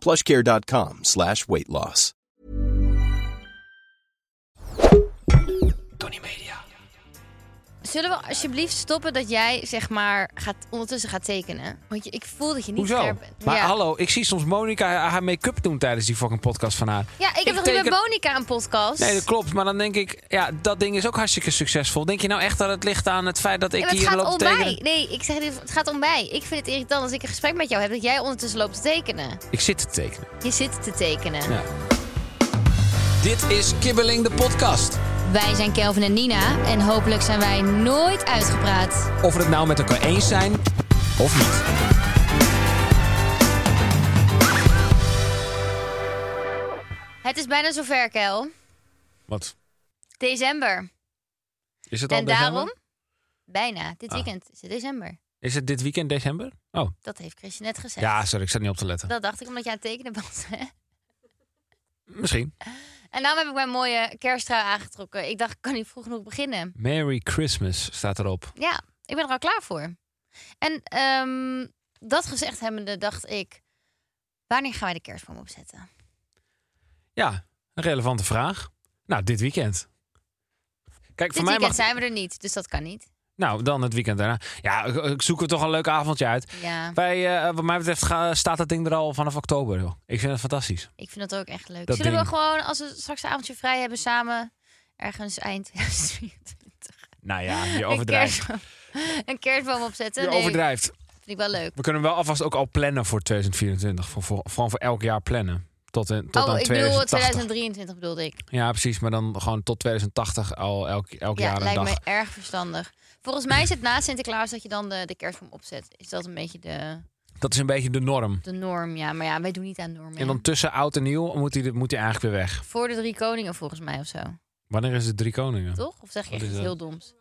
Plushcare.com slash weight loss. Tony Media. Zullen we alsjeblieft stoppen dat jij zeg maar gaat, ondertussen gaat tekenen? Want je, ik voel dat je niet Hoezo? scherp bent. Maar ja. hallo, ik zie soms Monica haar make-up doen tijdens die fucking podcast van haar. Ja, ik heb Ik nog teken- niet met Monica een podcast. Nee, dat klopt. Maar dan denk ik, ja, dat ding is ook hartstikke succesvol. Denk je nou echt dat het ligt aan het feit dat ik Ja, maar het hier gaat loop te om tekenen? mij. Nee, ik zeg dit, het gaat om mij. Ik vind het irritant als ik een gesprek met jou heb dat jij ondertussen loopt te tekenen. Ik zit te tekenen. Je zit te tekenen. Ja. Dit is Kibbeling de podcast. Wij zijn Kelvin en Nina en hopelijk zijn wij nooit uitgepraat. Of we het nou met elkaar eens zijn of niet. Het is bijna zover, Kel. Wat? December. Is het al en december? daarom? Bijna. Dit Ah. weekend is het december. Is het dit weekend december? Oh, Dat heeft Chrisje net gezegd. ja, sorry, ik zat niet op te letten. Dat dacht ik omdat je aan het tekenen was. hè? Misschien. En daarom heb ik mijn mooie kersttrui aangetrokken. Ik dacht, ik kan niet vroeg genoeg beginnen. Merry Christmas staat erop. Ja, ik ben er al klaar voor. En ehm, dat gezegd hebbende dacht ik... Wanneer gaan wij de kerstboom opzetten? Ja, een relevante vraag. Nou, dit weekend. Kijk, Dit voor mij weekend mag... zijn we er niet, dus dat kan niet. Nou, dan het weekend daarna. Ja, ik- ik zoek er toch een leuk avondje uit. Ja, Wij, eh, wat mij betreft ga- staat dat ding er al vanaf oktober. Joh. Ik vind het fantastisch. ik vind dat ook echt leuk. Dat Zullen we ding. gewoon, als we straks een avondje vrij hebben, samen... ergens eind 2024 Nou ja, je een overdrijft. kerstboom, een kerstboom opzetten? Je eh, nee, overdrijft. vind ik wel leuk. We kunnen wel alvast ook al plannen voor 2024. Voor, voor, gewoon voor elk jaar plannen. Tot, in, tot oh, aan ik bedoel 2080. 2023 bedoelde ik. Ja, precies. Maar dan gewoon tot 2080 al elk, elk Ja, jaar een lijkt dag. me erg verstandig. Volgens mij is het na Sinterklaas dat je dan de, de kerstboom opzet. Is dat een beetje de, Dat is een beetje de norm. de norm? Ja, maar ja, wij doen niet aan normen. En hè. dan tussen oud en nieuw moet hij moet die eigenlijk weer weg. Voor de drie koningen volgens mij of zo. Wanneer is de Drie Koningen? Toch? Of zeg je Wat echt is iets dat? heel doms?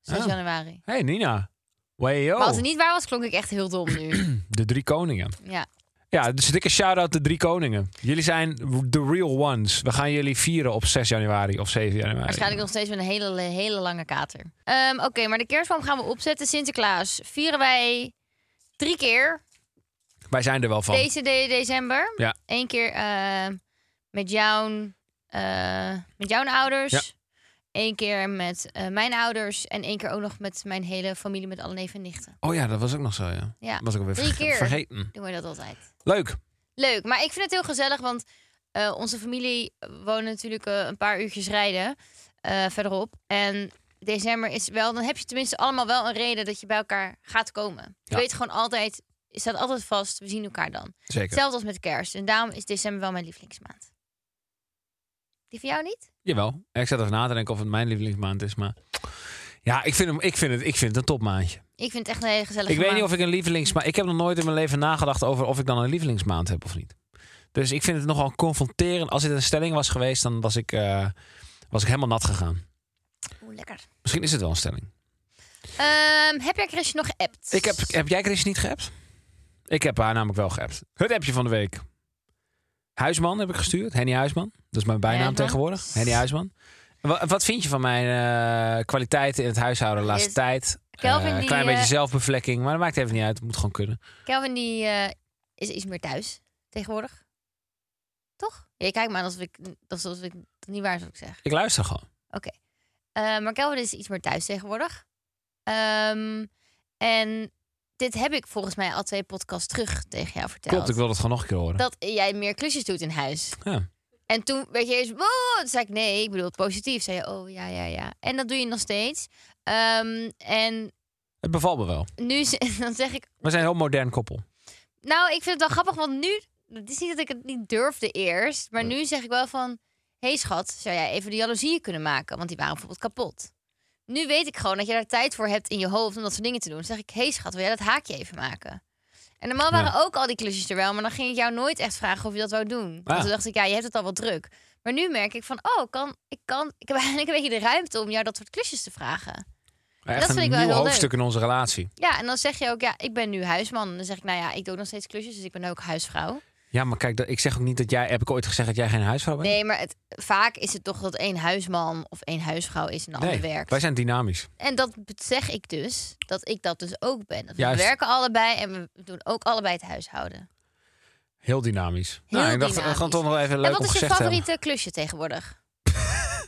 6 Ah. Oh. januari. hey, Nina. Wayo. Maar als het niet waar was, klonk ik echt heel dom nu. De Drie Koningen. ja. Ja, dus dikke shout-out de Drie Koningen. Jullie zijn the real ones. We gaan jullie vieren op 6 januari of 7 januari. Waarschijnlijk nog steeds met een hele, hele lange kater. Ehm, Oké, maar de kerstboom gaan we opzetten. Sinterklaas vieren wij drie keer. Wij zijn er wel van. Deze de- december. Ja. Eén keer eh, met, jouw, eh, met jouw ouders. Ja. Eén keer met eh, mijn ouders. En één keer ook nog met mijn hele familie, met alle neven en nichten. Oh ja, dat was ook nog zo, ja. Ja, Dat was ik alweer Drie verge- keer. vergeten. doen we dat altijd. Leuk. Leuk, maar ik vind het heel gezellig, want eh, onze familie woont natuurlijk eh, een paar uurtjes rijden eh, verderop. En december is wel, dan heb je tenminste allemaal wel een reden dat je bij elkaar gaat komen. Je Ja. weet gewoon altijd, je staat altijd vast, we zien elkaar dan. Zeker. Hetzelfde als met kerst. En daarom is december wel mijn lievelingsmaand. Die voor jou niet? Jawel. Ik zat even na te denken of het mijn lievelingsmaand is, maar... Ja, ik vind, hem, ik vind, het, ik vind het een topmaandje. Ik vind het echt een hele gezellige Ik weet niet maand. of ik een lievelingsmaand... Ik heb nog nooit in mijn leven nagedacht over of ik dan een lievelingsmaand heb of niet. Dus ik vind het nogal confronterend. Als dit een stelling was geweest, dan was ik, eh, was ik helemaal nat gegaan. Oeh, lekker. Misschien is het wel een stelling. Ehm, heb jij Chrisje nog geappt? Ik heb, eh, heb jij Chris niet geappt? Ik heb haar namelijk wel geappt. Het appje van de week. Huisman heb ik gestuurd. Henny Huisman. Dat is mijn bijnaam Huisman. tegenwoordig. Henny Huisman. Wat, wat vind je van mijn eh, kwaliteiten in het huishouden de laatste Is- tijd? Kelvin Eh, die, klein eh, beetje zelfbevlekking, maar dat maakt even niet uit. Het moet gewoon kunnen. Kelvin die eh, is iets meer thuis tegenwoordig. Toch? Ja, je kijkt me aan alsof ik, alsof ik dat niet waar is wat ik zeg. Ik luister gewoon. Oké. Eh, maar Kelvin is iets meer thuis tegenwoordig. Ehm, en dit heb ik volgens mij al twee podcasts terug tegen jou verteld. Klopt, ik wil dat gewoon nog een keer horen. Dat jij meer klusjes doet in huis. Ja. En toen werd je eens, wow, toen zei ik nee, ik bedoel het positief. Zei je, oh ja, ja, ja. En dat doe je nog steeds. Ehm, en Het bevalt me wel. nu, z- dan zeg ik, We zijn een heel modern koppel. Nou, ik vind het wel grappig, want nu... Het is niet dat ik het niet durfde eerst. Maar nu zeg ik wel van... Hé hey schat, zou jij even de jaloezieën kunnen maken? Want die waren bijvoorbeeld kapot. Nu weet ik gewoon dat je daar tijd voor hebt in je hoofd om dat soort dingen te doen. Dan zeg ik, hé hey schat, wil jij dat haakje even maken? En normaal waren ook al die klusjes er wel, maar dan ging ik jou nooit echt vragen of je dat wou doen. Want Ja. toen dacht ik, ja, je hebt het al wel druk. Maar nu merk ik van, oh, kan, ik, kan, ik heb eigenlijk een beetje de ruimte om jou dat soort klusjes te vragen. Echt Dat een vind ik wel nieuw heel hoofdstuk in onze relatie. Ja, en dan zeg je ook, ja, ik ben nu huisman. En dan zeg ik, nou ja, ik doe ook nog steeds klusjes, dus ik ben ook huisvrouw. Ja, maar kijk, dat- ik zeg ook niet dat jij... Heb ik ooit gezegd dat jij geen huisvrouw bent? Nee, maar het, vaak is het toch dat één huisman of één huisvrouw is en de ander werkt. wij zijn dynamisch. En dat zeg ik dus, dat ik dat dus ook ben. Dat we Juist. werken allebei en we doen ook allebei het huishouden. Heel dynamisch. Heel nou, ik dacht, dynamisch. we gaan toch nog even en leuk wat om is je gezegd te hebben. favoriete klusje tegenwoordig?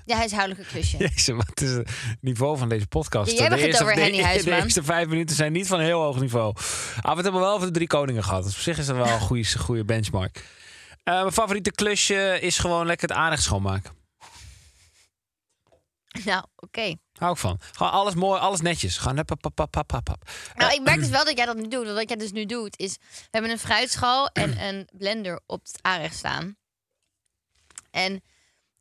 je huishoudelijke klusje. Jezus, wat is het niveau van deze podcast? Jij begint eerste, over de, Henny de Huisman. eerste vijf minuten zijn niet van heel hoog niveau. Ah, we het hebben wel over de drie koningen gehad. Dus op zich is dat wel een goede, goede benchmark. Eh, mijn favoriete klusje is gewoon lekker het aanrecht schoonmaken. Nou, oké. Hou ik van. Gewoon alles mooi, alles netjes. Gewoon hup, hup, hup, hup, hup, hup, hup. Nou, ik merk dus wel dat jij dat nu doet. Want wat jij dus nu doet is... We hebben een fruitschal en een blender op het aanrecht staan. En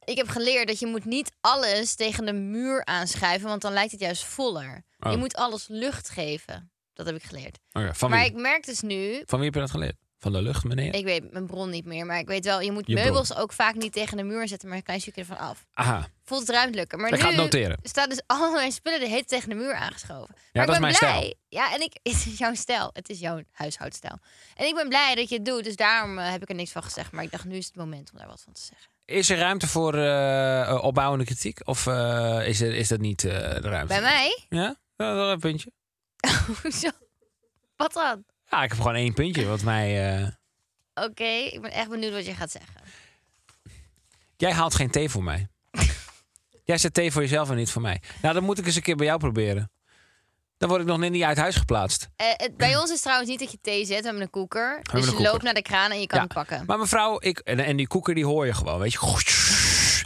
ik heb geleerd dat je moet niet alles tegen de muur aanschuiven... want dan lijkt het juist voller. Oh. Je moet alles lucht geven. Dat heb ik geleerd. Oké, Oh van, Maar wie? ik merk dus nu... van wie heb je dat geleerd? Van de lucht, meneer? Ik weet mijn bron niet meer, maar ik weet wel... je moet Je bron. meubels ook vaak niet tegen de muur zetten... maar een klein stukje ervan af. Aha, Voelt het ruimtelijker. Maar ik nu ga het noteren. staan dus al mijn spullen de hele tijd tegen de muur aangeschoven. Ja, dat is ben mijn blij. stijl. Ja, en ik, het is jouw stijl. Het is jouw huishoudstijl. En ik ben blij dat je het doet, dus daarom eh, heb ik er niks van gezegd. Maar ik dacht, nu is het moment om daar wat van te zeggen. Is er ruimte voor eh, eh, opbouwende kritiek? Of eh, is, er, is dat niet eh, de ruimte? Bij mij? Ja, Ja, wel een puntje. Hoezo? Wat dan? Ja, ik heb gewoon één puntje. Wat mij, eh, Oké, ik ben echt benieuwd wat je gaat zeggen. Jij haalt geen thee voor mij. Jij zet thee voor jezelf en niet voor mij. Nou, dan moet ik eens een keer bij jou proberen. Dan word ik nog net niet uit huis geplaatst. Eh, het, bij ons is trouwens niet dat je thee zet, we hebben een koeker. hebben dus een je koeker. loopt naar de kraan en je kan Ja, het pakken. Maar mevrouw, ik, en, en die koeker die hoor je gewoon, weet je.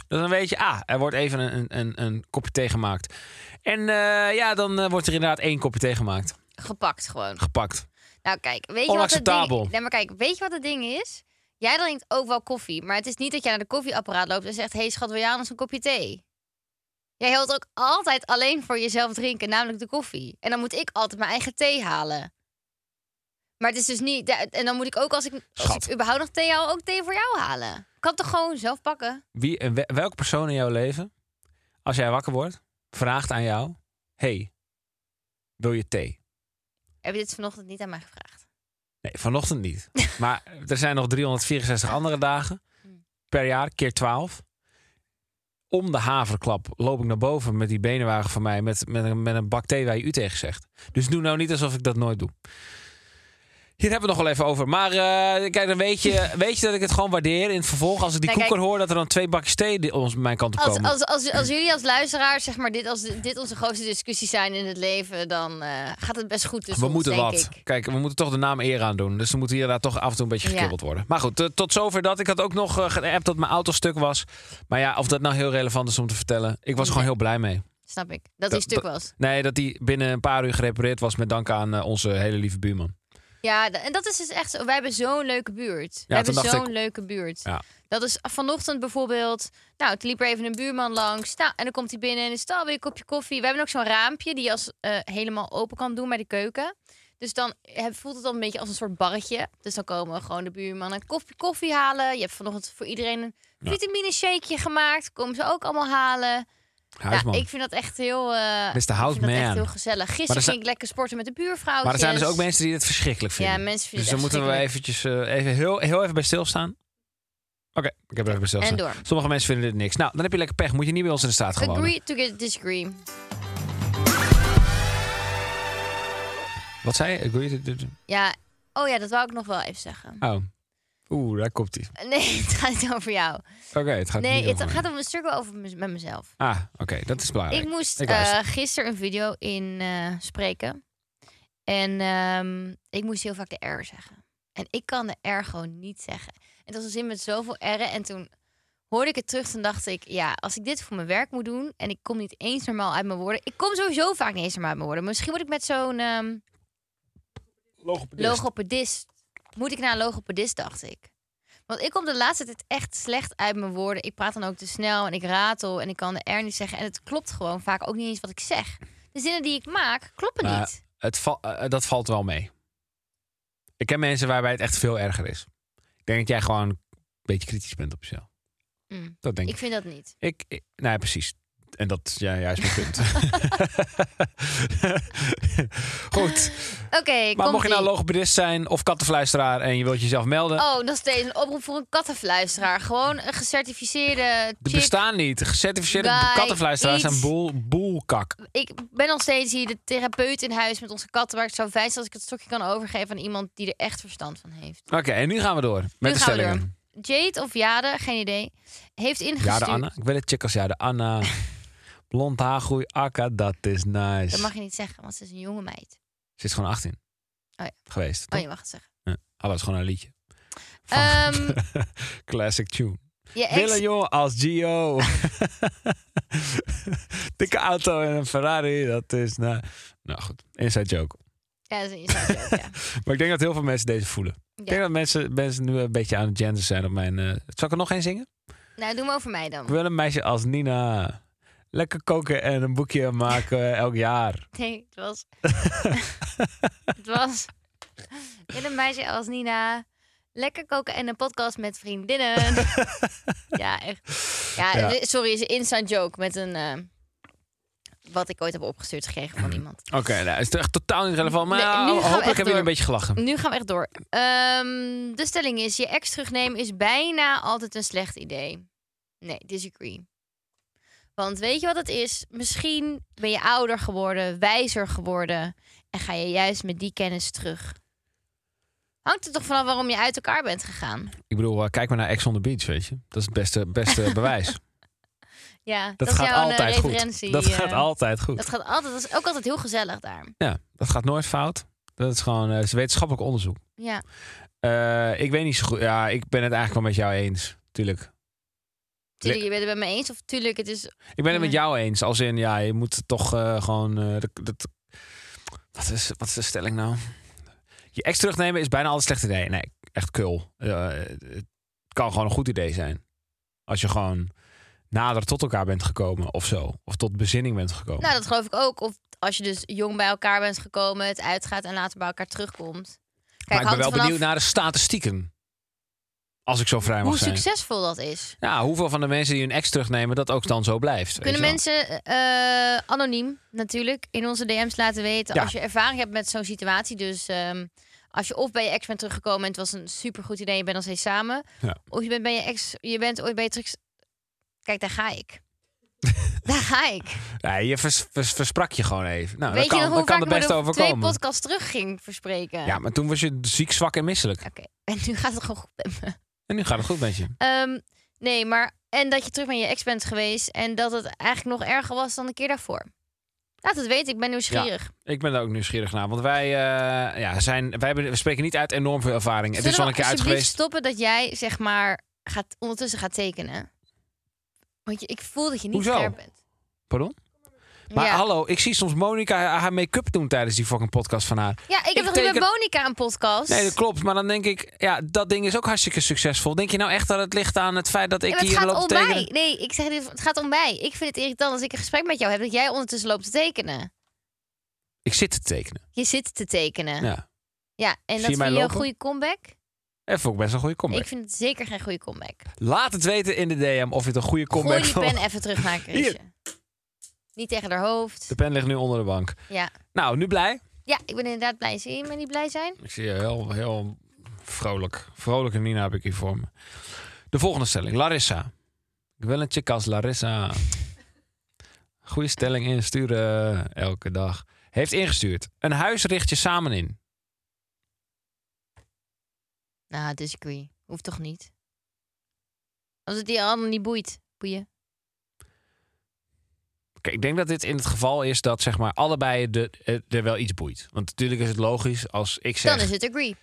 Dus dan weet je, ah, er wordt even een, een- een, een kopje thee gemaakt. En eh, ja, dan eh, wordt er inderdaad één kopje thee gemaakt. Gepakt gewoon. Gepakt. Nou kijk, weet je wat het Onacceptabel. ding... Nee, maar kijk, weet je wat het ding is? Jij drinkt ook wel koffie, maar het is niet dat jij naar de koffieapparaat loopt en zegt... hey, schat, wil jij anders een kopje thee? Jij wilt ook altijd alleen voor jezelf drinken, namelijk de koffie. En dan moet ik altijd mijn eigen thee halen. Maar het is dus niet... da- En dan moet ik ook, als ik, als Schat. ik überhaupt nog thee haal, ook thee voor jou halen. Ik kan het toch gewoon zelf pakken? Wie, en wel- welke persoon in jouw leven, als jij wakker wordt, vraagt aan jou... hey, wil je thee? Heb je dit vanochtend niet aan mij gevraagd? Nee, vanochtend niet. Maar er zijn nog 364 andere dagen per jaar, keer 12. Om de haverklap loop ik naar boven met die benenwagen van mij... met, met, een, met een bak thee waar je u tegen zegt. Dus doe nou niet alsof ik dat nooit doe. Hier hebben we het nog wel even over. Maar eh, kijk, dan weet je, weet je dat ik het gewoon waardeer in het vervolg. Als ik die Nou, kijk- koeker hoor, dat er dan twee bakjes thee die ons mijn kant op Als, komen. als, als, als jullie als luisteraars, zeg maar, dit, als dit onze grootste discussies zijn in het leven... dan eh, gaat het best goed tussen we ons, moeten denk wat. ik. Kijk, we moeten toch de naam eer aan doen. Dus er moet hier daar toch af en toe een beetje Ja. gekibbeld worden. Maar goed, eh, tot zover dat. Ik had ook nog eh, geappt dat mijn auto stuk was. Maar ja, of dat nou heel relevant is om te vertellen. Ik was gewoon heel blij mee. Snap ik. Dat Dat- hij stuk was. Nee, dat die binnen een paar uur gerepareerd was met dank aan eh, onze hele lieve buurman. Ja, da- en dat is dus echt zo. Wij hebben zo'n leuke buurt. We hebben toen dacht zo'n ik- leuke buurt. Ja. Dat is vanochtend bijvoorbeeld. Nou, het liep er even een buurman langs. Nou, en dan komt hij binnen en is het alweer een kopje koffie. We hebben ook zo'n raampje die je als eh, helemaal open kan doen bij de keuken. Dus dan eh, voelt het dan een beetje als een soort barretje. Dus dan komen gewoon de buurman een kopje koffie halen. Je hebt vanochtend voor iedereen een vitamine shakeje gemaakt. Komen ze ook allemaal halen. Huisman. Ja, ik vind dat echt heel. eh, ik vind dat Houseman. echt heel gezellig. Gisteren zijn- ging ik lekker sporten met de buurvrouwtjes. maar er zijn dus ook mensen die het verschrikkelijk vinden. Ja, mensen vinden dus het dan echt moeten we eventjes eh, even heel, heel even bij stilstaan. Oké, ik heb er even bij stilstaan. En door. Sommige mensen vinden dit niks. Nou, dan heb je lekker pech. Moet je niet bij ons in de staat gewoon. Agree to get disagree. Wat zei je? Agree? Ja. Oh ja, dat wou ik nog wel even zeggen. Oh. Oeh, daar komt hij. Nee, het gaat niet over jou. Oké, het gaat Nee, niet het over gaat mij. over een stuk wel over mez- met mezelf. Ah, oké, dat is belangrijk. Ik moest Ik eh, luister. gisteren een video in eh, spreken. En ehm, ik moest heel vaak de R zeggen. En ik kan de R gewoon niet zeggen. En het was een zin met zoveel R'en. En toen hoorde ik het terug. Toen dacht ik, ja, als ik dit voor mijn werk moet doen. En ik kom niet eens normaal uit mijn woorden. Ik kom sowieso vaak niet eens normaal uit mijn woorden. Misschien moet ik met zo'n ehm, Logopedist. logopedist. Moet ik naar een logopedist, dacht ik. Want ik kom de laatste tijd echt slecht uit mijn woorden. Ik praat dan ook te snel en ik ratel en ik kan de R niet zeggen. En het klopt gewoon vaak ook niet eens wat ik zeg. De zinnen die ik maak kloppen Maar- niet. Het val- eh, dat valt wel mee. Ik ken mensen waarbij het echt veel erger is. Ik denk dat jij gewoon een beetje kritisch bent op jezelf. Mm. Dat denk ik. Ik vind dat niet. Ik, ik- nou ja, precies. En dat is ja, juist mijn punt. Goed. Oké, Maar komt mocht je nou ie. logopedist zijn of kattenfluisteraar en je wilt jezelf melden... Oh, nog steeds een oproep voor een kattenfluisteraar. Gewoon een gecertificeerde Er chick. bestaan niet. Gecertificeerde guy, kattenfluisteraars iets. zijn boel, boelkak. Ik ben nog steeds hier de therapeut in huis met onze katten. Maar het zou fijn zijn als ik het stokje kan overgeven aan iemand die er echt verstand van heeft. Oké, en nu gaan we door met Nu de gaan we stellingen. Jade of Jade, geen idee, heeft Ja, ingestuurd... de Anna. Ik wil het checken als ja, de Anna. Blond haargroei, akka, dat is nice. Dat mag je niet zeggen, want ze is een jonge meid. Ze is gewoon 18 Oh ja. geweest. Oh, toch? je mag het zeggen. Hallo, het is gewoon een liedje. Van- Ehm Classic tune. je ex... Willen joh als Gio. Dikke auto en een Ferrari, dat is... Nou, nou goed, inside joke. Ja, dat is een inside joke, ja. Maar ik denk dat heel veel mensen deze voelen. Ik denk dat mensen, mensen nu een beetje aan het gender zijn op mijn... eh, Zal ik er nog één zingen? Nou, doe maar over mij dan. Ik wil een meisje als Nina. Lekker koken en een boekje maken elk jaar. Nee, het was. het was. Ik wil een meisje als Nina. Lekker koken en een podcast met vriendinnen. ja, echt. Ja, Ja. dit- sorry, is een inside joke met een. eh, wat ik ooit heb opgestuurd gekregen van iemand. Oké, nou, is het echt totaal niet relevant. Maar Nee, nu ja, gaan we hopelijk echt hebben jullie door. een beetje gelachen. Nu gaan we echt door. Ehm, de stelling is: je ex terugnemen is bijna altijd een slecht idee. Nee, disagree. Want weet je wat het is? Misschien ben je ouder geworden, wijzer geworden en ga je juist met die kennis terug. Hangt er toch vanaf waarom je uit elkaar bent gegaan? Ik bedoel, eh, kijk maar naar Ex on the Beach, weet je. Dat is het beste, beste bewijs. Dat, Ja, dat, is gaat jouw eh, altijd referentie. goed. Dat eh, gaat altijd goed. Dat gaat altijd, dat is ook altijd heel gezellig daar. Ja, dat gaat nooit fout. Dat is gewoon eh, is wetenschappelijk onderzoek. Ja, Eh, ik weet niet zo goed. Ja, ik ben het eigenlijk wel met jou eens. Tuurlijk. tuurlijk, je bent het met me eens. Of tuurlijk, het is... Ik ben het met Ja. jou eens. Als in, ja, je moet toch eh, gewoon... eh, dat, dat- wat, is, wat is de stelling nou? Je ex terugnemen is bijna altijd een slecht idee. Nee, echt kul. Eh, het kan gewoon een goed idee zijn. Als je gewoon nader tot elkaar bent gekomen of zo. Of tot bezinning bent gekomen. Nou, dat geloof ik ook. Of als je dus jong bij elkaar bent gekomen, het uitgaat en later bij elkaar terugkomt. Kijk, maar ik ben hangt wel er vanaf benieuwd naar de statistieken. Als ik zo vrij mag hoe zijn. succesvol dat is. Ja, hoeveel van de mensen die hun ex terugnemen, dat ook dan zo blijft. weet Kunnen je wel. mensen eh, anoniem natuurlijk in onze DM's laten weten Ja. als je ervaring hebt met zo'n situatie. Dus ehm, als je of bij je ex bent teruggekomen en het was een supergoed idee, je bent nog steeds samen. Ja. Of je bent bij je ex, je bent ooit bij je terug. Kijk, daar ga ik. daar ga ik. Ja, je vers- vers- versprak je gewoon even. Nou, Weet je dat kan, nog dat hoe kan vaak ik er me best er twee overkomen. podcasts terug ging verspreken? Ja, maar toen was je ziek, zwak en misselijk. Oké, en nu gaat het gewoon goed met me. En nu gaat het goed met je. Ehm, nee, maar en dat je terug met je ex bent geweest en dat het eigenlijk nog erger was dan de keer daarvoor. Laat het weten, ik ben nieuwsgierig. Ik ben daar ook nieuwsgierig naar. Want wij, eh, ja, zijn, wij hebben, we spreken niet uit enorm veel ervaring. Het is Zullen wel een we keer uit alsjeblieft geweest. stoppen dat jij zeg maar gaat, ondertussen gaat tekenen? Want je, ik voel dat je niet Hoezo? ver bent. Pardon? Maar ja. hallo, ik zie soms Monica haar- haar make-up doen tijdens die fucking podcast van haar. ja, ik heb ik nog teken- met Monica een podcast. Nee, dat klopt. Maar dan denk ik, ja, dat ding is ook hartstikke succesvol. Denk je nou echt dat het ligt aan het feit dat ik Ja, maar het hier gaat loop te om tekenen? mij. Nee, ik zeg dit, het gaat om mij. Ik vind het irritant als ik een gesprek met jou heb dat jij ondertussen loopt te tekenen. Ik zit te tekenen. Je zit te tekenen. Ja, Ja. en Zie dat je vind je mij een lopen? goede comeback? En vond ik best een goede comeback. Ik vind het zeker geen goede comeback. Laat het weten in de DM of je het een goede comeback Gooi die vond. pen even terug naar Chrisje. Niet tegen haar hoofd. De pen ligt nu onder de bank. Ja. Nou, nu blij. ja, ik ben inderdaad blij. Zie je me niet blij zijn? Ik zie je heel, heel vrolijk. Vrolijke Nina heb ik hier voor me. De volgende stelling. Larissa. Ik wil een chick als Larissa. Goeie stelling insturen eh, elke dag. Heeft ingestuurd. Een huis richt je samen in. Nou, disagree. Hoeft toch niet? Als het die ander niet boeit, boeien. Kijk, ik denk dat dit in het geval is dat zeg maar allebei de, eh, er wel iets boeit. Want natuurlijk is het logisch als ik zeg... Dan is het agree.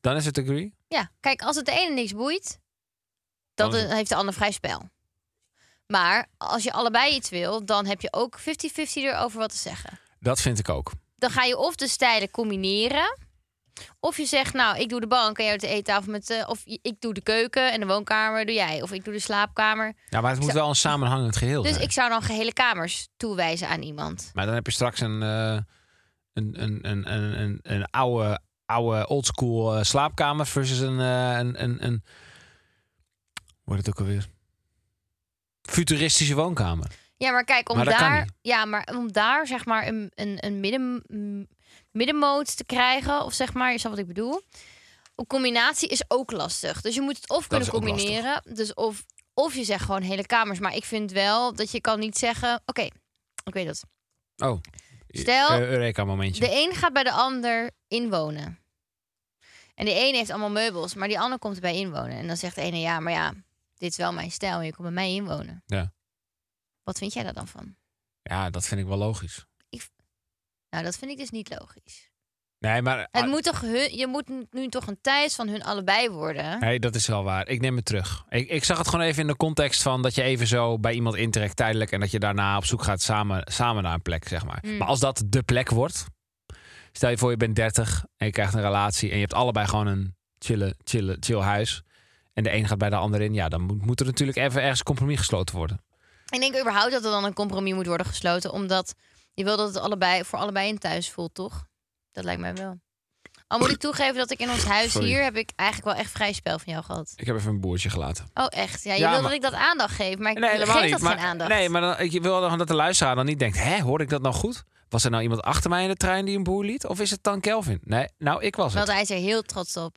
dan is het agree. Ja, kijk, als het de ene niks boeit, dan Dan is het- heeft de ander vrij spel. Maar als je allebei iets wil, dan heb je ook 50-50 erover wat te zeggen. Dat vind ik ook. Dan ga je of de stijlen combineren. Of je zegt, nou, ik doe de bank en jij doet de eettafel met... eh, of ik doe de keuken en de woonkamer doe jij. Of ik doe de slaapkamer. Ja, maar het moet wel een samenhangend geheel Dus zijn. ik zou dan gehele kamers toewijzen aan iemand. Maar dan heb je straks een, eh, een, een, een, een, een, een oude oude oldschool eh, slaapkamers versus een, eh, een, een, een... Hoe heet het ook alweer? Futuristische woonkamer. Ja, maar kijk, om Maar dat kan daar, niet. ja, maar om daar zeg maar een, een, een midden, m- middenmoot te krijgen, of zeg maar, je snapt wat ik bedoel. Een combinatie is ook lastig. Dus je moet het of kunnen is ook combineren. Dus of, of je zegt gewoon hele kamers. Maar ik vind wel dat je kan niet zeggen. Oké, ik weet dat. Oh. Stel- Eh, Eureka momentje. De een gaat bij de ander inwonen. En de een heeft allemaal meubels, maar die ander komt erbij inwonen. En dan zegt de ene ja, maar ja, dit is wel mijn stijl en je komt bij mij inwonen. Ja. Wat vind jij daar dan van? Ja, dat vind ik wel logisch. Nou, dat vind ik dus niet logisch. Nee, maar... Het moet toch hun, je moet n- nu toch een thuis van hun allebei worden. Nee, dat is wel waar. Ik neem het terug. Ik, ik zag het gewoon even in de context van dat je even zo bij iemand intrekt tijdelijk en dat je daarna op zoek gaat samen, samen naar een plek, zeg maar. Mm. Maar als dat de plek wordt, stel je voor je bent 30 en je krijgt een relatie en je hebt allebei gewoon een chille, chille, chill huis. En de een gaat bij de ander in, ja, dan moet, moet er natuurlijk even ergens een compromis gesloten worden. Ik denk überhaupt dat er dan een compromis moet worden gesloten, omdat je wil dat het allebei, voor allebei een thuis voelt, toch? Dat lijkt mij wel. Al moet ik toegeven dat ik in ons huis Sorry. hier heb ik eigenlijk wel echt vrij spel van jou gehad. Ik heb even een boertje gelaten. Oh, echt? Ja, je Ja, wil maar- dat ik dat aandacht geef, maar ik Nee, helemaal geef niet. dat maar, geen aandacht. Nee, maar dan, ik wil dan dat de luisteraar dan niet denkt: hè, hoorde ik dat nou goed? Was er nou iemand achter mij in de trein die een boer liet? Of is het dan Kelvin? Nee, nou, ik was Want het. hij is er heel trots op.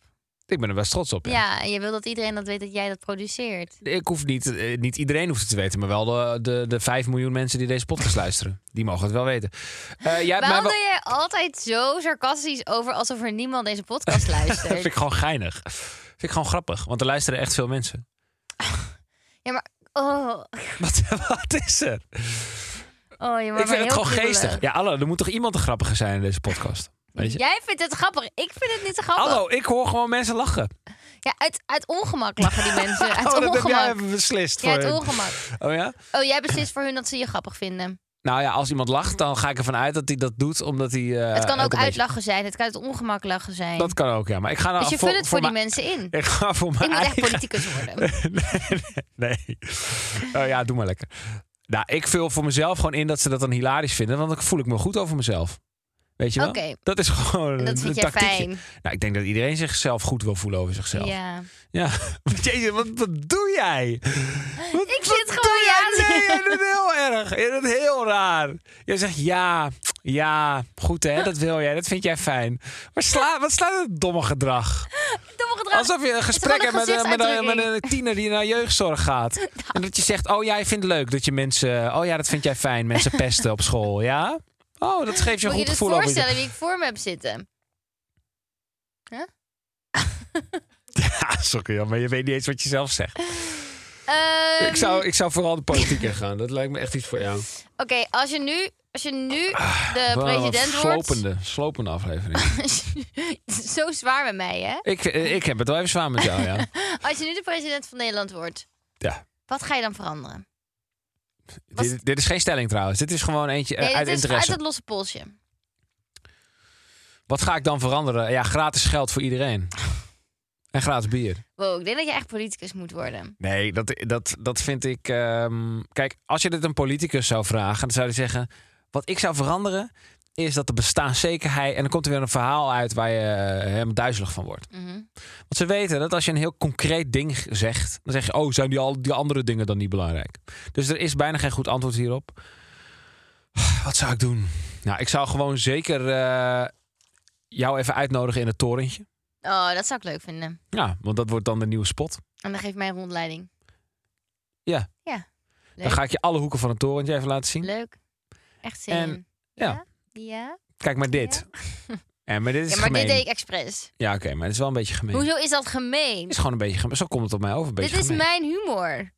Ik ben er best trots op. Ja. ja. en je wil dat iedereen dat weet dat jij dat produceert. Ik hoef niet, eh, niet iedereen hoeft het te weten, maar wel de, de, de 5 miljoen mensen die deze podcast luisteren. Die mogen het wel weten. Eh, jij hebt mij Waarom wel- ben je altijd zo sarcastisch over alsof er niemand deze podcast vind ik luistert? gewoon geinig. Vind ik gewoon grappig, want er luisteren echt veel mensen. Oh, Wat, wat is er? oh je maakt ik me vind het heel gewoon kriebelig. geestig. Ja, hallo, er moet toch iemand een grappige zijn in deze podcast? Weet je? Jij vindt het grappig. Ik vind het niet zo grappig. Hallo, ik hoor gewoon mensen lachen. Ja, uit, uit ongemak lachen die mensen. Uit oh, dat heb jij ongemak. even beslist Ja, voor uit hun. ongemak. Oh ja? Oh, jij beslist voor hun dat ze je grappig vinden. Nou ja, als iemand lacht, dan ga ik ervan uit dat hij dat doet, omdat hij... eh, het kan ook een beetje- uitlachen zijn. Het kan uit ongemak lachen zijn. Dat kan ook, ja. Maar ik ga nou dus je voor, vult het voor, die mijn- mensen in. Ik ga voor mijn Ik moet echt eigen- politicus worden. nee, nee, nee. Oh ja, doe maar lekker. Nou, ik vul voor mezelf gewoon in dat ze dat dan hilarisch vinden, want dan voel ik me goed over mezelf. Weet je wel? Oké. Dat is gewoon En dat een- vind een jij tactiekje. fijn. Nou, ik denk dat iedereen zichzelf goed wil voelen over zichzelf. Ja. Jezus, wat, wat doe jij? Wat, Ik wat zit doe gewoon jij? ja Nee, te- jij doet het heel erg. Je doet het heel raar. Jij zegt ja, ja, goed hè, dat wil jij, dat vind jij fijn. Maar sla, wat slaat het domme gedrag? Domme gedrag. Alsof je een gesprek gewoon hebt een met, een- met, een- met gezichtsuitdrukking. een tiener die naar jeugdzorg gaat. En dat je zegt, oh jij vindt het leuk dat je mensen... Oh ja, dat vind jij fijn, mensen pesten op school, ja? Oh, dat geeft je een Moet je goed dus gevoel over je. voorstellen wie ik voor me heb zitten? Ja, Ah, sorry, joh, maar je weet niet eens wat je zelf zegt. Ehm, Ik zou, ik zou vooral de politiek in gaan. Dat lijkt me echt iets voor jou. Ehm, Oké, als je nu, als je nu de Wel Ah, een president wordt... slopende, slopende aflevering. Het is Zo zwaar met mij, hè? ik, eh, ik heb het wel even zwaar met jou, ja. Als je nu de president van Nederland wordt, ja. wat ga je dan veranderen? Was- Dit, dit is geen stelling trouwens. Dit is gewoon eentje eh, Nee, uit dit is uit interesse. het losse polsje. Wat ga ik dan veranderen? Ja, gratis geld voor iedereen. En gratis bier. Wow, ik denk dat je echt politicus moet worden. Nee, dat, dat, dat vind ik. ehm, kijk, als je dit een politicus zou vragen, dan zou hij zeggen: Wat ik zou veranderen, is dat de bestaanszekerheid. En dan komt er weer een verhaal uit waar je eh, helemaal duizelig van wordt. Mhm. Want ze weten dat als je een heel concreet ding g- zegt, dan zeg je: Oh, zijn die, al, die andere dingen dan niet belangrijk? Dus er is bijna geen goed antwoord hierop. Wat zou ik doen? Nou, ik zou gewoon zeker eh, jou even uitnodigen in het torentje. Oh, dat zou ik leuk vinden. Ja, want dat wordt dan de nieuwe spot. En dan geef mij een rondleiding. Ja. Ja. Dan ga ik je alle hoeken van het torentje even laten zien. Leuk. Echt zin En- in. ja. Ja? Kijk maar dit. En maar dit is Ja, maar gemeen. dit deed ik expres. Ja, oké, maar het is wel een beetje gemeen. Hoezo is dat gemeen? Het is gewoon een beetje gemeen. Zo komt het op mij over. Een Dit beetje is gemeen. mijn humor.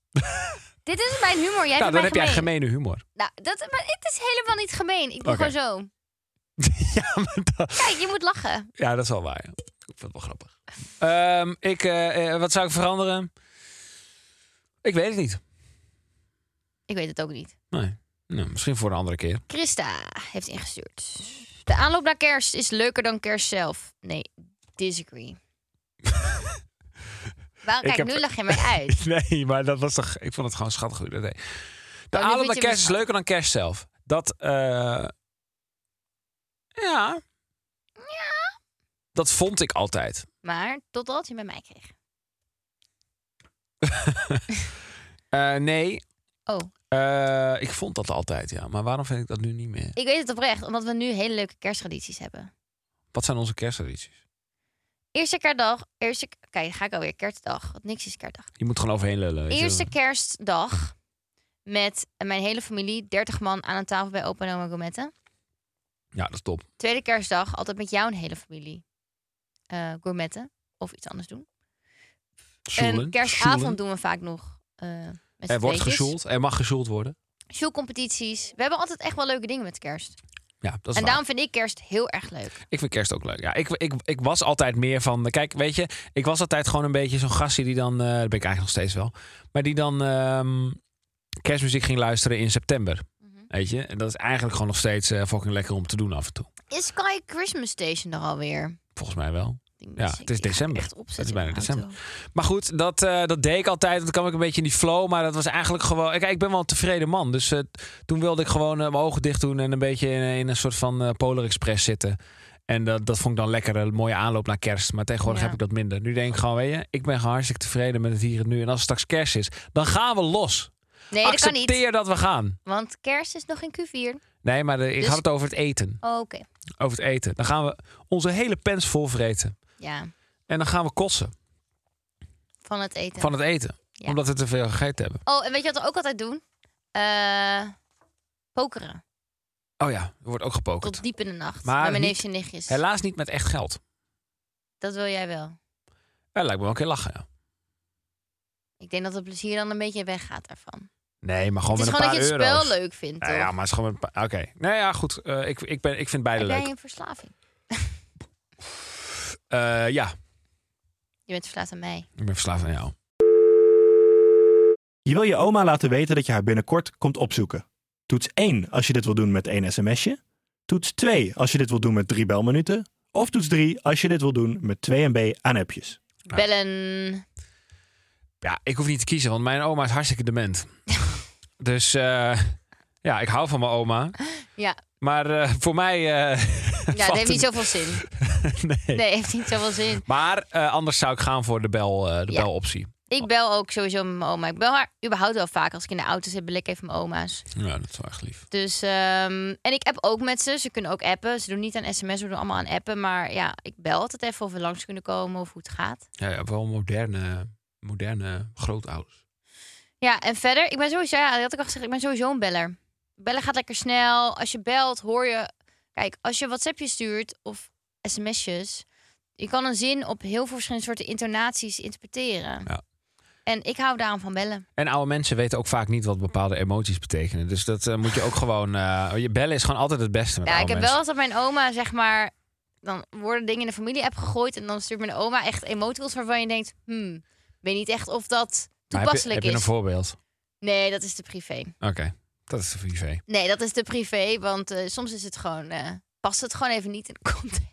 Dit is mijn humor. Jij nou, vindt dan mij heb gemeen. jij gemene humor. Nou, dat, maar het is helemaal niet gemeen. Ik doe gewoon Oké. zo. ja, maar dat, Kijk, je moet lachen. ja, dat is wel waar. ja. Ik vind het wel grappig. Ehm, ik, eh, eh, wat zou ik veranderen? Ik weet het niet. Ik weet het ook niet. Nee. Nou, misschien voor een andere keer. Christa heeft ingestuurd. De aanloop naar kerst is leuker dan kerst zelf. Nee, disagree. Waarom Ik kijk, heb- nu lag je mij uit. Nee, maar dat was toch... Ik vond het gewoon schattig hoe je dat deed. De Oh, nu aanloop vind naar je kerst is me- leuker dan kerst zelf. Dat, eh, Ja. Dat vond ik altijd. Maar totdat je bij mij kreeg. Eh, nee, Oh, eh, ik vond dat altijd, ja. Maar waarom vind ik dat nu niet meer? ik weet het oprecht, omdat we nu hele leuke kersttradities hebben. Wat zijn onze kersttradities? Eerste kerstdag, eerste... Kijk, dan ga ik alweer kerstdag. Want niks is kerstdag. Je moet gewoon overheen lullen. weet je. Eerste kerstdag met mijn hele familie, 30 man aan een tafel bij opa en oma Gourmetten. Ja, dat is top. Tweede kerstdag altijd met jouw hele familie eh gourmetten of iets anders doen. en Sjoelen, kerstavond sjoelen. doen we vaak nog eh met Er z'n wordt tweetjes. gesjoeld. Er mag gesjoeld worden. Sjoelcompetities. We hebben altijd echt wel leuke dingen met kerst. Ja, dat is en waar. daarom vind ik kerst heel erg leuk. Ik vind kerst ook leuk. Ja, ik, ik, ik was altijd meer van. eh, Kijk, weet je, ik was altijd gewoon een beetje zo'n gastje die dan. eh, dat ben ik eigenlijk nog steeds wel. Maar die dan ehm, kerstmuziek ging luisteren in september. Mhm. Weet je, en dat is eigenlijk gewoon nog steeds eh, fucking lekker om te doen af en toe. Is Sky Christmas Station er alweer? Volgens mij wel. Ik denk Ja, dat ze- het is ik ga december. echt opzetten Het is bijna in mijn december. auto. Maar goed, dat, eh, dat deed ik altijd. Want dan kwam ik een beetje in die flow. Maar dat was eigenlijk gewoon. Kijk, ik ben wel een tevreden man. Dus eh, toen wilde ik gewoon eh, mijn ogen dicht doen. En een beetje in, in een soort van eh, Polar Express zitten. En dat, dat vond ik dan lekker. Een mooie aanloop naar kerst. Maar tegenwoordig Ja. heb ik dat minder. Nu denk ik gewoon, weet je, ik ben gewoon hartstikke tevreden met het hier en nu. En als het straks kerst is, dan gaan we los. Nee, dat kan Accepteer niet. dat we gaan. Want kerst is nog in Q4. Nee, maar de- ik Dus- had het over het eten. Oh, Oké. Over het eten. Dan gaan we onze hele pens vol vreten. Ja, En dan gaan we kotsen van het eten. van het eten. Ja. Omdat we te veel gegeten hebben. Oh, en weet je wat we ook altijd doen? Eh, pokeren. Oh ja, er wordt ook gepokerd. Tot diep in de nacht. Maar met mijn niet- neefjes en nichtjes. Helaas niet met echt geld. Dat wil jij wel. Ja, lijkt me wel een keer lachen. ja. Ik denk dat het plezier dan een beetje weggaat daarvan. Nee, maar gewoon het is met gewoon dat een je paar het euro's. spel leuk vindt. Nou toch? ja, maar het is gewoon met een paar... Oké. Nou ja, goed. Eh, ik, ik, ben, ik vind beide Heb leuk. jij een verslaving? Eh, ja, Je bent verslaafd aan mij. ik ben verslaafd aan jou. Je wil je oma laten weten dat je haar binnenkort komt opzoeken. Toets 1 als je dit wil doen met één sms'je. Toets 2 als je dit wil doen met drie belminuten. Of toets 3 als je dit wil doen met 2 MB aan appjes. Ja. Bellen. Ja, ik hoef niet te kiezen, want mijn oma is hartstikke dement. dus eh, ja, ik hou van mijn oma. Ja, Maar eh, voor mij... eh, ja dat valt heeft niet het- zoveel zin. nee. Nee, heeft niet zoveel zin. Maar eh, anders zou ik gaan voor de, bel, eh, de Ja. beloptie. Ik bel ook sowieso met mijn oma. Ik bel haar überhaupt wel vaak. Als ik in de auto zit, bel ik even mijn oma's. Ja, dat is wel echt lief. Dus, ehm, en ik app ook met ze. Ze kunnen ook appen. Ze doen niet aan sms, ze doen allemaal aan appen. Maar ja, ik bel altijd even of we langs kunnen komen of hoe het gaat. Ja, ja, wel moderne, moderne grootouders. Ja, en verder, ik ben sowieso, ja, dat had ik al gezegd, ik ben sowieso een beller. Bellen gaat lekker snel. Als je belt, hoor je. Kijk, als je WhatsAppje stuurt of sms'jes, je kan een zin op heel veel verschillende soorten intonaties interpreteren. Ja. En ik hou daarom van bellen. En oude mensen weten ook vaak niet wat bepaalde emoties betekenen. Dus dat eh, moet je ook gewoon... eh, je bellen is gewoon altijd het beste met ja, ik oude heb wel nou, mensen. eens dat mijn oma, zeg maar, dan worden dingen in de familie-app gegooid en dan stuurt mijn oma echt emoticons waarvan je denkt, hmm, ik weet niet echt of dat Maar heb je- toepasselijk Heb je is. een voorbeeld? Nee, dat is te privé. Oké, dat is de privé. Nee, dat is te privé, want eh, soms is het gewoon, eh, past het gewoon even niet in de context.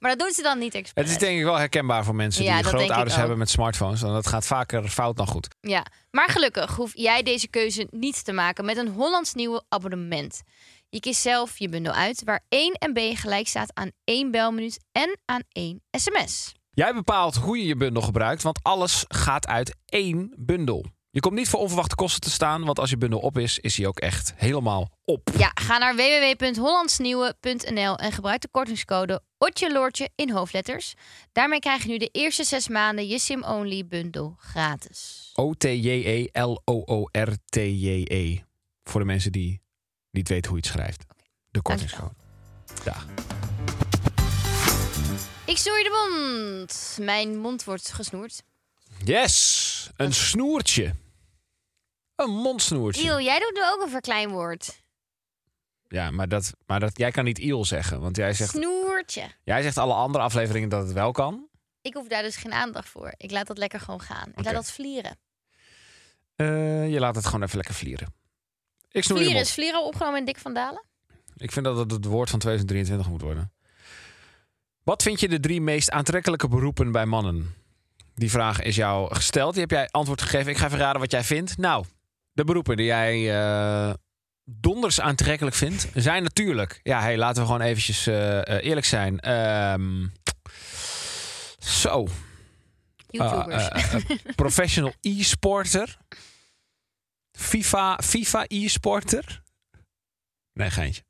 Maar dat doen ze dan niet expres. Het is denk ik wel herkenbaar voor mensen Ja, die dat denk ik grootouders ook. hebben met smartphones. En dat gaat vaker fout dan goed. Ja, maar gelukkig hoef jij deze keuze niet te maken met een Hollands nieuwe abonnement. Je kiest zelf je bundel uit waar 1 MB gelijk staat aan 1 belminuut en aan 1 sms. Jij bepaalt hoe je je bundel gebruikt, want alles gaat uit één bundel. Je komt niet voor onverwachte kosten te staan, want als je bundel op is, is hij ook echt helemaal op. Ja, ga naar www.hollandsnieuwe.nl en gebruik de kortingscode OTJELOORTJE in hoofdletters. Daarmee krijg je nu de eerste zes maanden je SIM-only bundel gratis. E O-T-J-E-L-O-O-R-T-J-E. E. Voor de mensen die niet weten hoe je het schrijft. De kortingscode. Dag. Ik snoer je de mond. Mijn mond wordt gesnoerd. Yes! Een snoertje. Een mondsnoertje. Iel, jij doet nu ook een verkleinwoord. Ja, maar, dat, maar dat, jij kan niet iel zeggen. Want jij zegt, Snoertje. jij zegt alle andere afleveringen dat het wel kan. Ik hoef daar dus geen aandacht voor. Ik laat dat lekker gewoon gaan. Ik Oké. laat dat vlieren. Eh, je laat het gewoon even lekker vlieren. Ik snoer je Vlieren mond. is vlieren opgenomen in Dick van Dalen. Ik vind dat het het woord van 2023 moet worden. Wat vind je de drie meest aantrekkelijke beroepen bij mannen? Die vraag is jou gesteld. Die heb jij antwoord gegeven. Ik ga even raden wat jij vindt. Nou, de beroepen die jij eh, donders aantrekkelijk vind, zijn natuurlijk... Ja, hey, laten we gewoon eventjes eh, eh, eerlijk zijn. Ehm, zo. YouTubers. Eh, eh, eh, professional e-sporter. FIFA, FIFA e-sporter. Nee, geintje.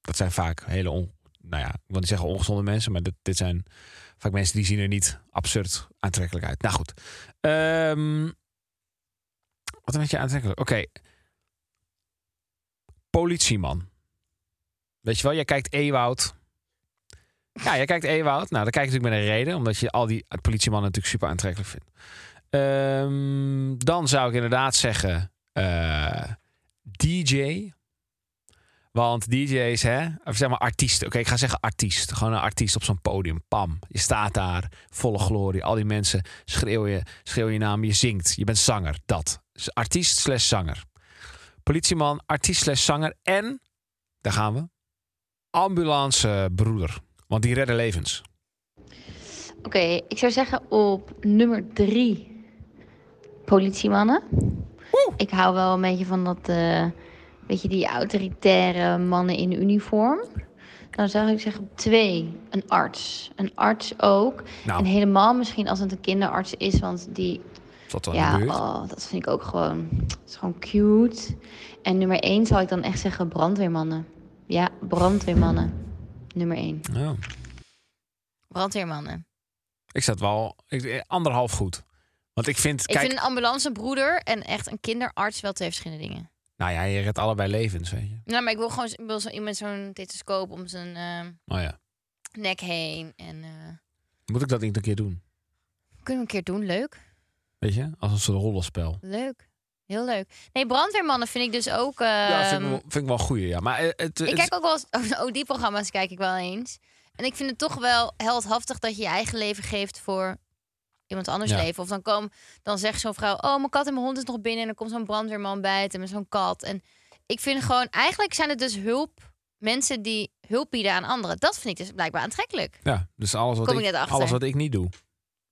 Dat zijn vaak hele on... Nou ja, ik wil niet zeggen ongezonde mensen, maar dit, dit zijn vaak mensen die zien er niet absurd aantrekkelijk uit. Nou goed. Ehm, wat een beetje aantrekkelijk. Oké. Politieman. Weet je wel, jij kijkt Ewoud. Ja, jij kijkt Ewoud. Nou, dat kijk je natuurlijk met een reden. Omdat je al die politiemannen natuurlijk super aantrekkelijk vindt. Ehm, dan zou ik inderdaad zeggen... eh, DJ. Want DJ's, hè? Of zeg maar artiesten. Oké, ik ga zeggen artiest. Gewoon een artiest op zo'n podium. Pam. Je staat daar, volle glorie. Al die mensen schreeuwen je, schreeuwen je naam. Je zingt. Je bent zanger. Dat. Dus Artiest slash zanger. Politieman, artiest slash zanger. En, daar gaan we. Ambulancebroeder. Want die redden levens. Oké, ik zou zeggen op nummer drie politiemannen. Ik hou wel een beetje van dat, eh, beetje die autoritaire mannen in uniform. Dan zou ik zeggen op twee, een arts. Een arts ook. Nou. En helemaal misschien als het een kinderarts is, want die... Is dat dan Ja, in de buurt? oh, dat vind ik ook gewoon, dat is gewoon cute. En nummer één zal ik dan echt zeggen brandweermannen. Ja, brandweermannen. Nummer één. Ja. Brandweermannen. Ik zat wel ik, eh, anderhalf goed. Want ik vind, Ik kijk, vind een ambulancebroeder en echt een kinderarts wel twee verschillende dingen. nou ja, je redt allebei levens, weet je. Nou, maar ik wil gewoon ik wil zo iemand zo'n stethoscoop om zijn eh, Nou ja, nek heen. En eh, moet ik dat niet een keer doen? kunnen we een keer doen, leuk. Weet je, als een soort rollenspel. Leuk. Heel leuk. Nee, brandweermannen vind ik dus ook. eh, ja, vind ik, wel, vind ik wel een goeie, ja. Maar eh, het, ik het- kijk ook wel eens. Oh, die programma's kijk ik wel eens. En ik vind het toch wel heldhaftig dat je je eigen leven geeft voor iemand anders Ja. leven. Of dan, kom, dan zegt zo'n vrouw: Oh, mijn kat en mijn hond is nog binnen. En dan komt zo'n brandweerman bijten met zo'n kat. En ik vind gewoon, eigenlijk zijn het dus hulp. Mensen die hulp bieden aan anderen. Dat vind ik dus blijkbaar aantrekkelijk. ja, dus alles wat, Kom ik ik, net achter. alles wat ik niet doe.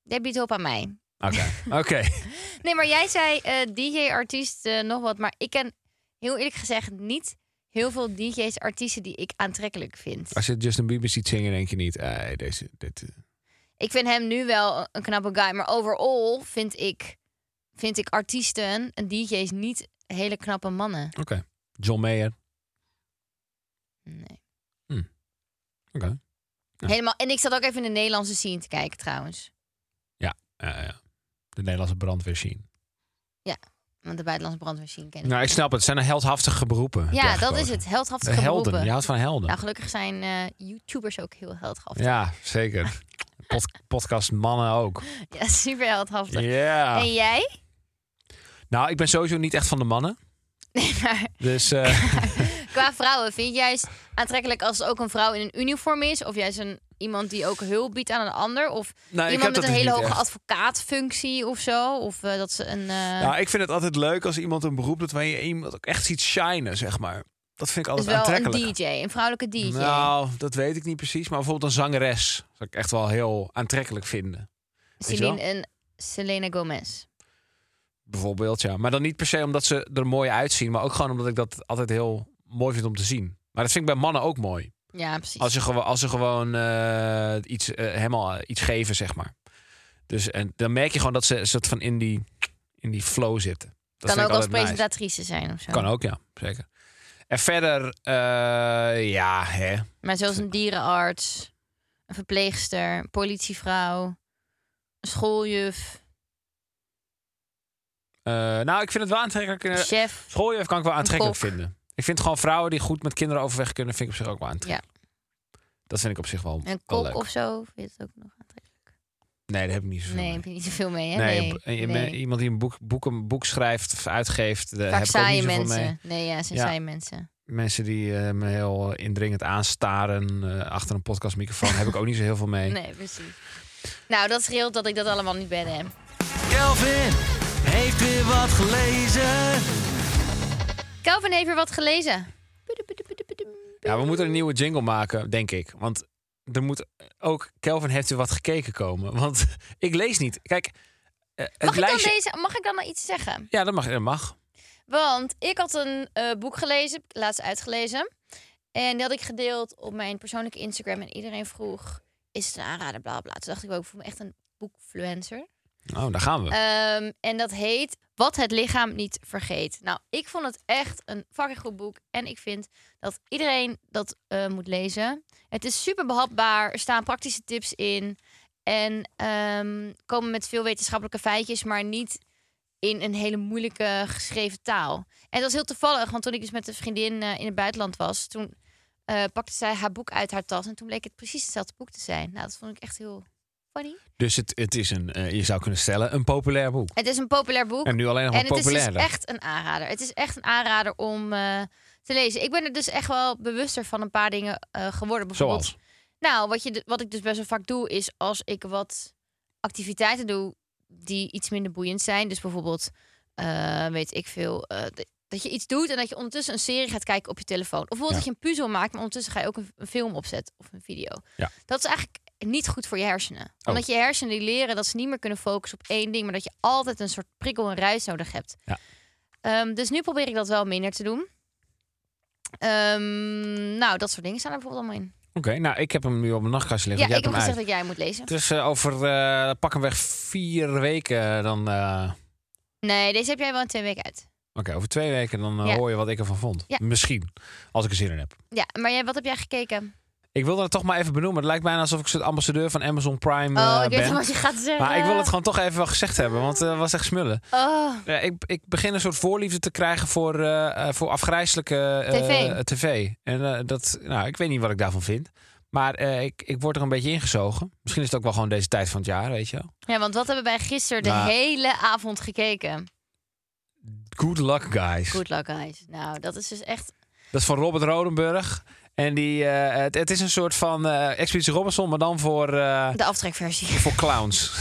Jij biedt hulp aan mij. Oké, oké. Nee, maar jij zei eh, DJ, artiest, eh, nog wat. Maar ik ken heel eerlijk gezegd niet heel veel DJ's, artiesten die ik aantrekkelijk vind. Als je Justin Bieber ziet zingen, denk je niet, eh, deze, dit, eh. Ik vind hem nu wel een knappe guy. Maar overal vind ik, vind ik artiesten en DJ's niet hele knappe mannen. oké. John Mayer. Nee. Hm. Oké. Ja. Helemaal. En ik zat ook even in de Nederlandse scene te kijken trouwens. Ja, ja. De Nederlandse brandweer zien. Want de buitenlandse brandweer scene ken ik. Nou, ik snap het. Het zijn een heldhaftige beroepen. heb jij ja, dat gekozen. is het. Heldhaftige De helden. beroepen. Je houdt van helden. Nou, gelukkig zijn eh, YouTubers ook heel heldhaftig. Ja, zeker. Pod- podcast mannen ook. Ja, super heldhaftig. Ja. En jij? Nou, ik ben sowieso niet echt van de mannen. Nee, maar Dus eh, Qua vrouwen, vind je juist aantrekkelijk als het ook een vrouw in een uniform is? Of juist een, iemand die ook hulp biedt aan een ander? Of nou, ik heb iemand dat met een dus hele niet hoge echt. advocaatfunctie of zo? Of eh, dat ze een... eh, Nou, ik vind het altijd leuk als iemand een beroep doet waar je iemand ook echt ziet shinen, zeg maar. Dat vind ik dus altijd wel een aantrekkelijk. DJ, een vrouwelijke DJ. Nou, dat weet ik niet precies. Maar bijvoorbeeld een zangeres zou ik echt wel heel aantrekkelijk vinden. je wel? Celine en Selena Gomez. Bijvoorbeeld, ja. Maar dan niet per se omdat ze er mooi uitzien, maar ook gewoon omdat ik dat altijd heel mooi vind om te zien. Maar dat vind ik bij mannen ook mooi. Ja, precies. Als ze, gewoon als ze gewoon eh, iets, eh, helemaal eh, iets geven, zeg maar. Dus en dan merk je gewoon dat ze een soort van in die, in die flow zitten. Dat kan vind ook ik als altijd nice. presentatrice zijn of zo. Kan ook, ja. Zeker. En verder, eh, ja, hè. Maar zoals een dierenarts, een verpleegster, een politievrouw, een schooljuf, Eh, nou, ik vind het wel aantrekkelijk. een eh, chef. Schooljuf kan ik wel aantrekkelijk kok. vinden. Ik vind gewoon vrouwen die goed met kinderen overweg kunnen, vind ik op zich ook wel aantrekkelijk. Dat vind ik op zich wel, Een wel kok leuk. of zo, vind je het ook nog aantrekkelijk? Nee, daar heb ik niet zoveel Nee, mee. heb je niet zoveel mee, hè? Nee, Nee, een- een- nee. iemand die een boek, boek, een boek schrijft of uitgeeft, daar Vaak heb ik ook niet saaie zoveel mensen. mee. Nee, ja, ze zijn Ja. saaie mensen. Mensen die eh, me heel indringend aanstaren eh, achter een podcastmicrofoon, heb ik ook niet zo heel veel mee. Nee, precies. Nou, dat scheelt dat ik dat allemaal niet ben, hè. Kelvin heeft weer wat gelezen. Calvin heeft weer wat gelezen. Ja, we moeten een nieuwe jingle maken, denk ik. Want er moet ook Kelvin heeft u wat gekeken komen. Want ik lees niet. Kijk, eh, het Mag ik, dan lijstje. deze, mag ik dan nou iets zeggen? Ja, dat mag. Dat mag. Want ik had een eh, boek gelezen, laatst uitgelezen. En die had ik gedeeld op mijn persoonlijke Instagram. En iedereen vroeg, is het een aanrader, bla bla. Toen dacht ik ook, ik voel me echt een boekfluencer. Oh, daar gaan we. Ehm, en dat heet Wat het lichaam niet vergeet. Nou, ik vond het echt een fucking goed boek. En ik vind dat iedereen dat eh, moet lezen. Het is super behapbaar. Er staan praktische tips in. En ehm, komen met veel wetenschappelijke feitjes, maar niet in een hele moeilijke geschreven taal. En dat was heel toevallig, want toen ik dus met een vriendin eh, in het buitenland was, toen eh, pakte zij haar boek uit haar tas. En toen bleek het precies hetzelfde boek te zijn. Nou, dat vond ik echt heel funny. dus het, het is een, eh, je zou kunnen stellen, een populair boek. Het is een populair boek. En nu alleen nog maar En het is dus populairder. echt een aanrader. Het is echt een aanrader om eh, te lezen. Ik ben er dus echt wel bewuster van een paar dingen eh, geworden. Bijvoorbeeld, Zoals. Nou, wat, je, d- wat ik dus best wel vaak doe, is als ik wat activiteiten doe die iets minder boeiend zijn. Dus bijvoorbeeld, eh, weet ik veel, eh, d- dat je iets doet en dat je ondertussen een serie gaat kijken op je telefoon. Of bijvoorbeeld dat je een puzzel maakt, maar ondertussen ga je ook een, een film opzetten of een video. Ja. Oh. Dat is eigenlijk niet goed voor je hersenen. Omdat je hersenen die leren dat ze niet meer kunnen focussen op één ding, maar dat je altijd een soort prikkel en ruis nodig hebt. Ja. Ehm, dus nu probeer ik dat wel minder te doen. Ehm, nou, dat soort dingen staan er bijvoorbeeld allemaal in. Oké, nou, ik heb hem nu op mijn nachtkastje Ja, liggen. ik want heb jij hebt hem gezegd uit. dat jij moet lezen. Dus eh, over eh pak hem weg vier weken eh, dan... eh, Nee, deze heb jij wel in twee weken uit. Oké, over twee weken dan eh, Ja. hoor je wat ik ervan vond. Ja. Misschien, als ik er zin in heb. Ja, maar jij, wat heb jij gekeken? Ik wilde het toch maar even benoemen. Het lijkt bijna alsof ik zo'n ambassadeur van Amazon Prime eh, oh, ik weet ben. niet wat je gaat zeggen. Maar ik wil het gewoon toch even wel gezegd hebben, want het was echt smullen. Oh, Ja, ik, ik begin een soort voorliefde te krijgen voor, eh, eh, voor afgrijzelijke eh, TV. tv. En eh, dat, nou, ik weet niet wat ik daarvan vind. Maar eh, ik, ik word er een beetje ingezogen. Misschien is het ook wel gewoon deze tijd van het jaar, weet je wel. ja, want wat hebben wij gisteren de Nou. hele avond gekeken? Good luck, guys. Good luck, guys. Nou, dat is dus echt... Dat is van Robert Rodenburg. En die, eh, het, het is een soort van eh Expeditie Robinson, maar dan voor, eh, De aftrekversie. voor clowns.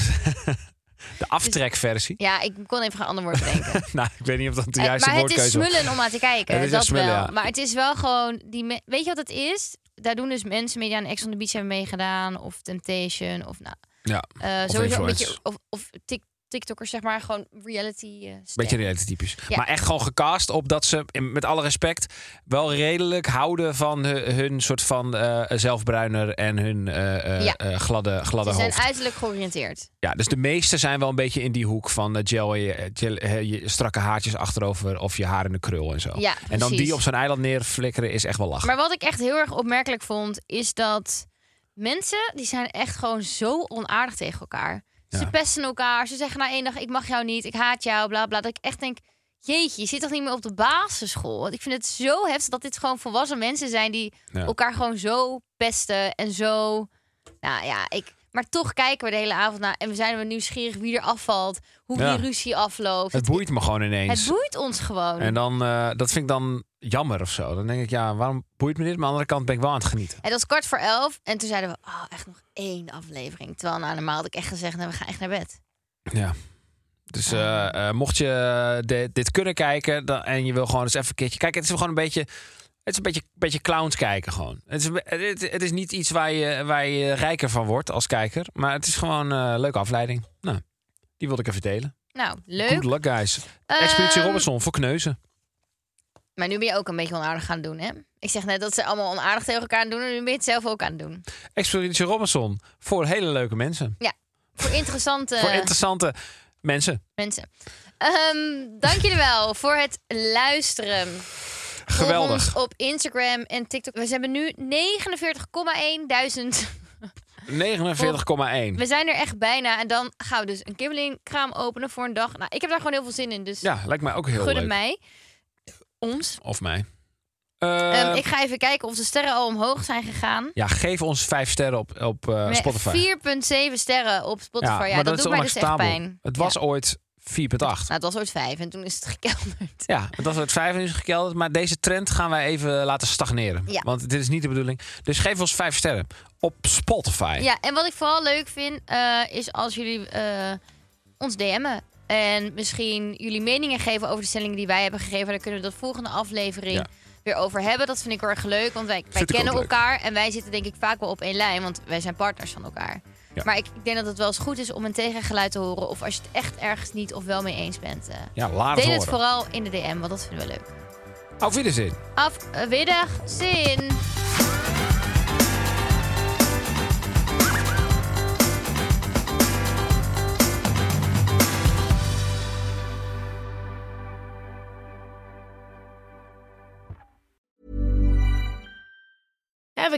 De aftrekversie. Ja, ik kon even geen ander woord bedenken. Nou, ik weet niet of dat de Eh, juiste maar het is woordkeuze was. smullen om aan te kijken. Het is echt dat smullen, wel. ja. Maar het is wel gewoon... Die me- Weet je wat het is? Daar doen dus mensen mee die aan Ex on the Beach hebben meegedaan. Of Temptation. Of nou... Ja, eh, sowieso een beetje... influencers. Of, of tik- TikTokkers, zeg maar. Gewoon reality eh sterren. Beetje reality-typisch. Ja. Maar echt gewoon gecast op dat ze, in- met alle respect, wel redelijk houden van hun, hun soort van eh zelfbruiner en hun eh, eh, Ja. eh, gladde, gladde Ze zijn hoofd. uiterlijk georiënteerd. Ja, dus de meesten zijn wel een beetje in die hoek van eh, gel, in je, eh, gel- eh, je strakke haartjes achterover of je haar in de krul en zo. Ja, en dan precies. die op zo'n eiland neerflikkeren is echt wel lachen. Maar wat ik echt heel erg opmerkelijk vond, is dat mensen die zijn echt gewoon zo onaardig tegen elkaar. Ze Ja. pesten elkaar. Ze zeggen na één dag: ik mag jou niet, ik haat jou, bla bla. Dat ik echt denk: jeetje, je zit toch niet meer op de basisschool? Want ik vind het zo heftig dat dit gewoon volwassen mensen zijn die Ja. elkaar gewoon zo pesten en zo. Nou ja, ik. Maar toch kijken we de hele avond naar en we zijn er nieuwsgierig wie er afvalt, hoe Ja. die ruzie afloopt. het boeit me gewoon ineens. het boeit ons gewoon. en dan, eh, dat vind ik dan jammer of zo. Dan denk ik, ja, waarom boeit me dit? Maar aan de andere kant ben ik wel aan het genieten. Het was kwart voor elf. En toen zeiden we, oh, echt nog één aflevering. Terwijl nou, normaal had ik echt gezegd, nou, we gaan echt naar bed. Ja. Dus eh, eh, mocht je dit, dit kunnen kijken dan, en je wil gewoon eens even een keertje kijken, het is gewoon een beetje, het is een beetje, beetje clowns kijken gewoon. Het is, een be- het, het is niet iets waar je, waar je rijker van wordt als kijker, maar het is gewoon eh, een leuke afleiding. Nou, die wilde ik even delen. Nou, Good leuk. luck guys. Ehm, Expeditie Robinson voor kneuzen. Maar nu ben je ook een beetje onaardig gaan doen, hè? Ik zeg net dat ze allemaal onaardig tegen elkaar aan doen. En nu ben je het zelf ook aan het doen. Expeditie Robinson voor hele leuke mensen. Voor interessante Voor interessante mensen. mensen. Ehm, dank jullie wel voor het luisteren. Volg Geweldig. ons op Instagram en TikTok. We hebben nu 49,1 duizend. 49,1. We zijn er echt bijna. En dan gaan we dus een kibbelingkraam openen voor een dag. Nou, ik heb daar gewoon heel veel zin in. Dus Ja, lijkt mij ook heel gun het leuk. mij. Ons. Of mij. Ehm, Eh, ik ga even kijken of de sterren al omhoog zijn gegaan. Ja, geef ons vijf sterren op, op eh, Nee, Spotify. 4,7 sterren op Spotify. Ja, maar dat, doet mij dus echt onacceptabel. pijn. Het was Ja. ooit 4,8. Nou, het was ooit 5 en toen is het gekelderd. Ja, het was ooit 5 en nu is het gekelderd. Maar deze trend gaan wij even laten stagneren. Ja. Want dit is niet de bedoeling. Dus geef ons vijf sterren op Spotify. Ja, en wat ik vooral leuk vind, eh, is als jullie eh, ons DM'en. En misschien jullie meningen geven over de stellingen die wij hebben gegeven. Dan kunnen we dat volgende aflevering Ja. weer over hebben. Dat vind ik heel erg leuk, want wij, wij ik ook kennen leuk. elkaar. En wij zitten denk ik vaak wel op één lijn, want wij zijn partners van elkaar. Ja. Maar ik, ik denk dat het wel eens goed is om een tegengeluid te horen. Of als je het echt ergens niet of wel mee eens bent. eh, Ja, laat het deel het horen. vooral in de DM, want dat vinden we leuk. Auf Wiedersehen. Af, eh, middag, zin! Ever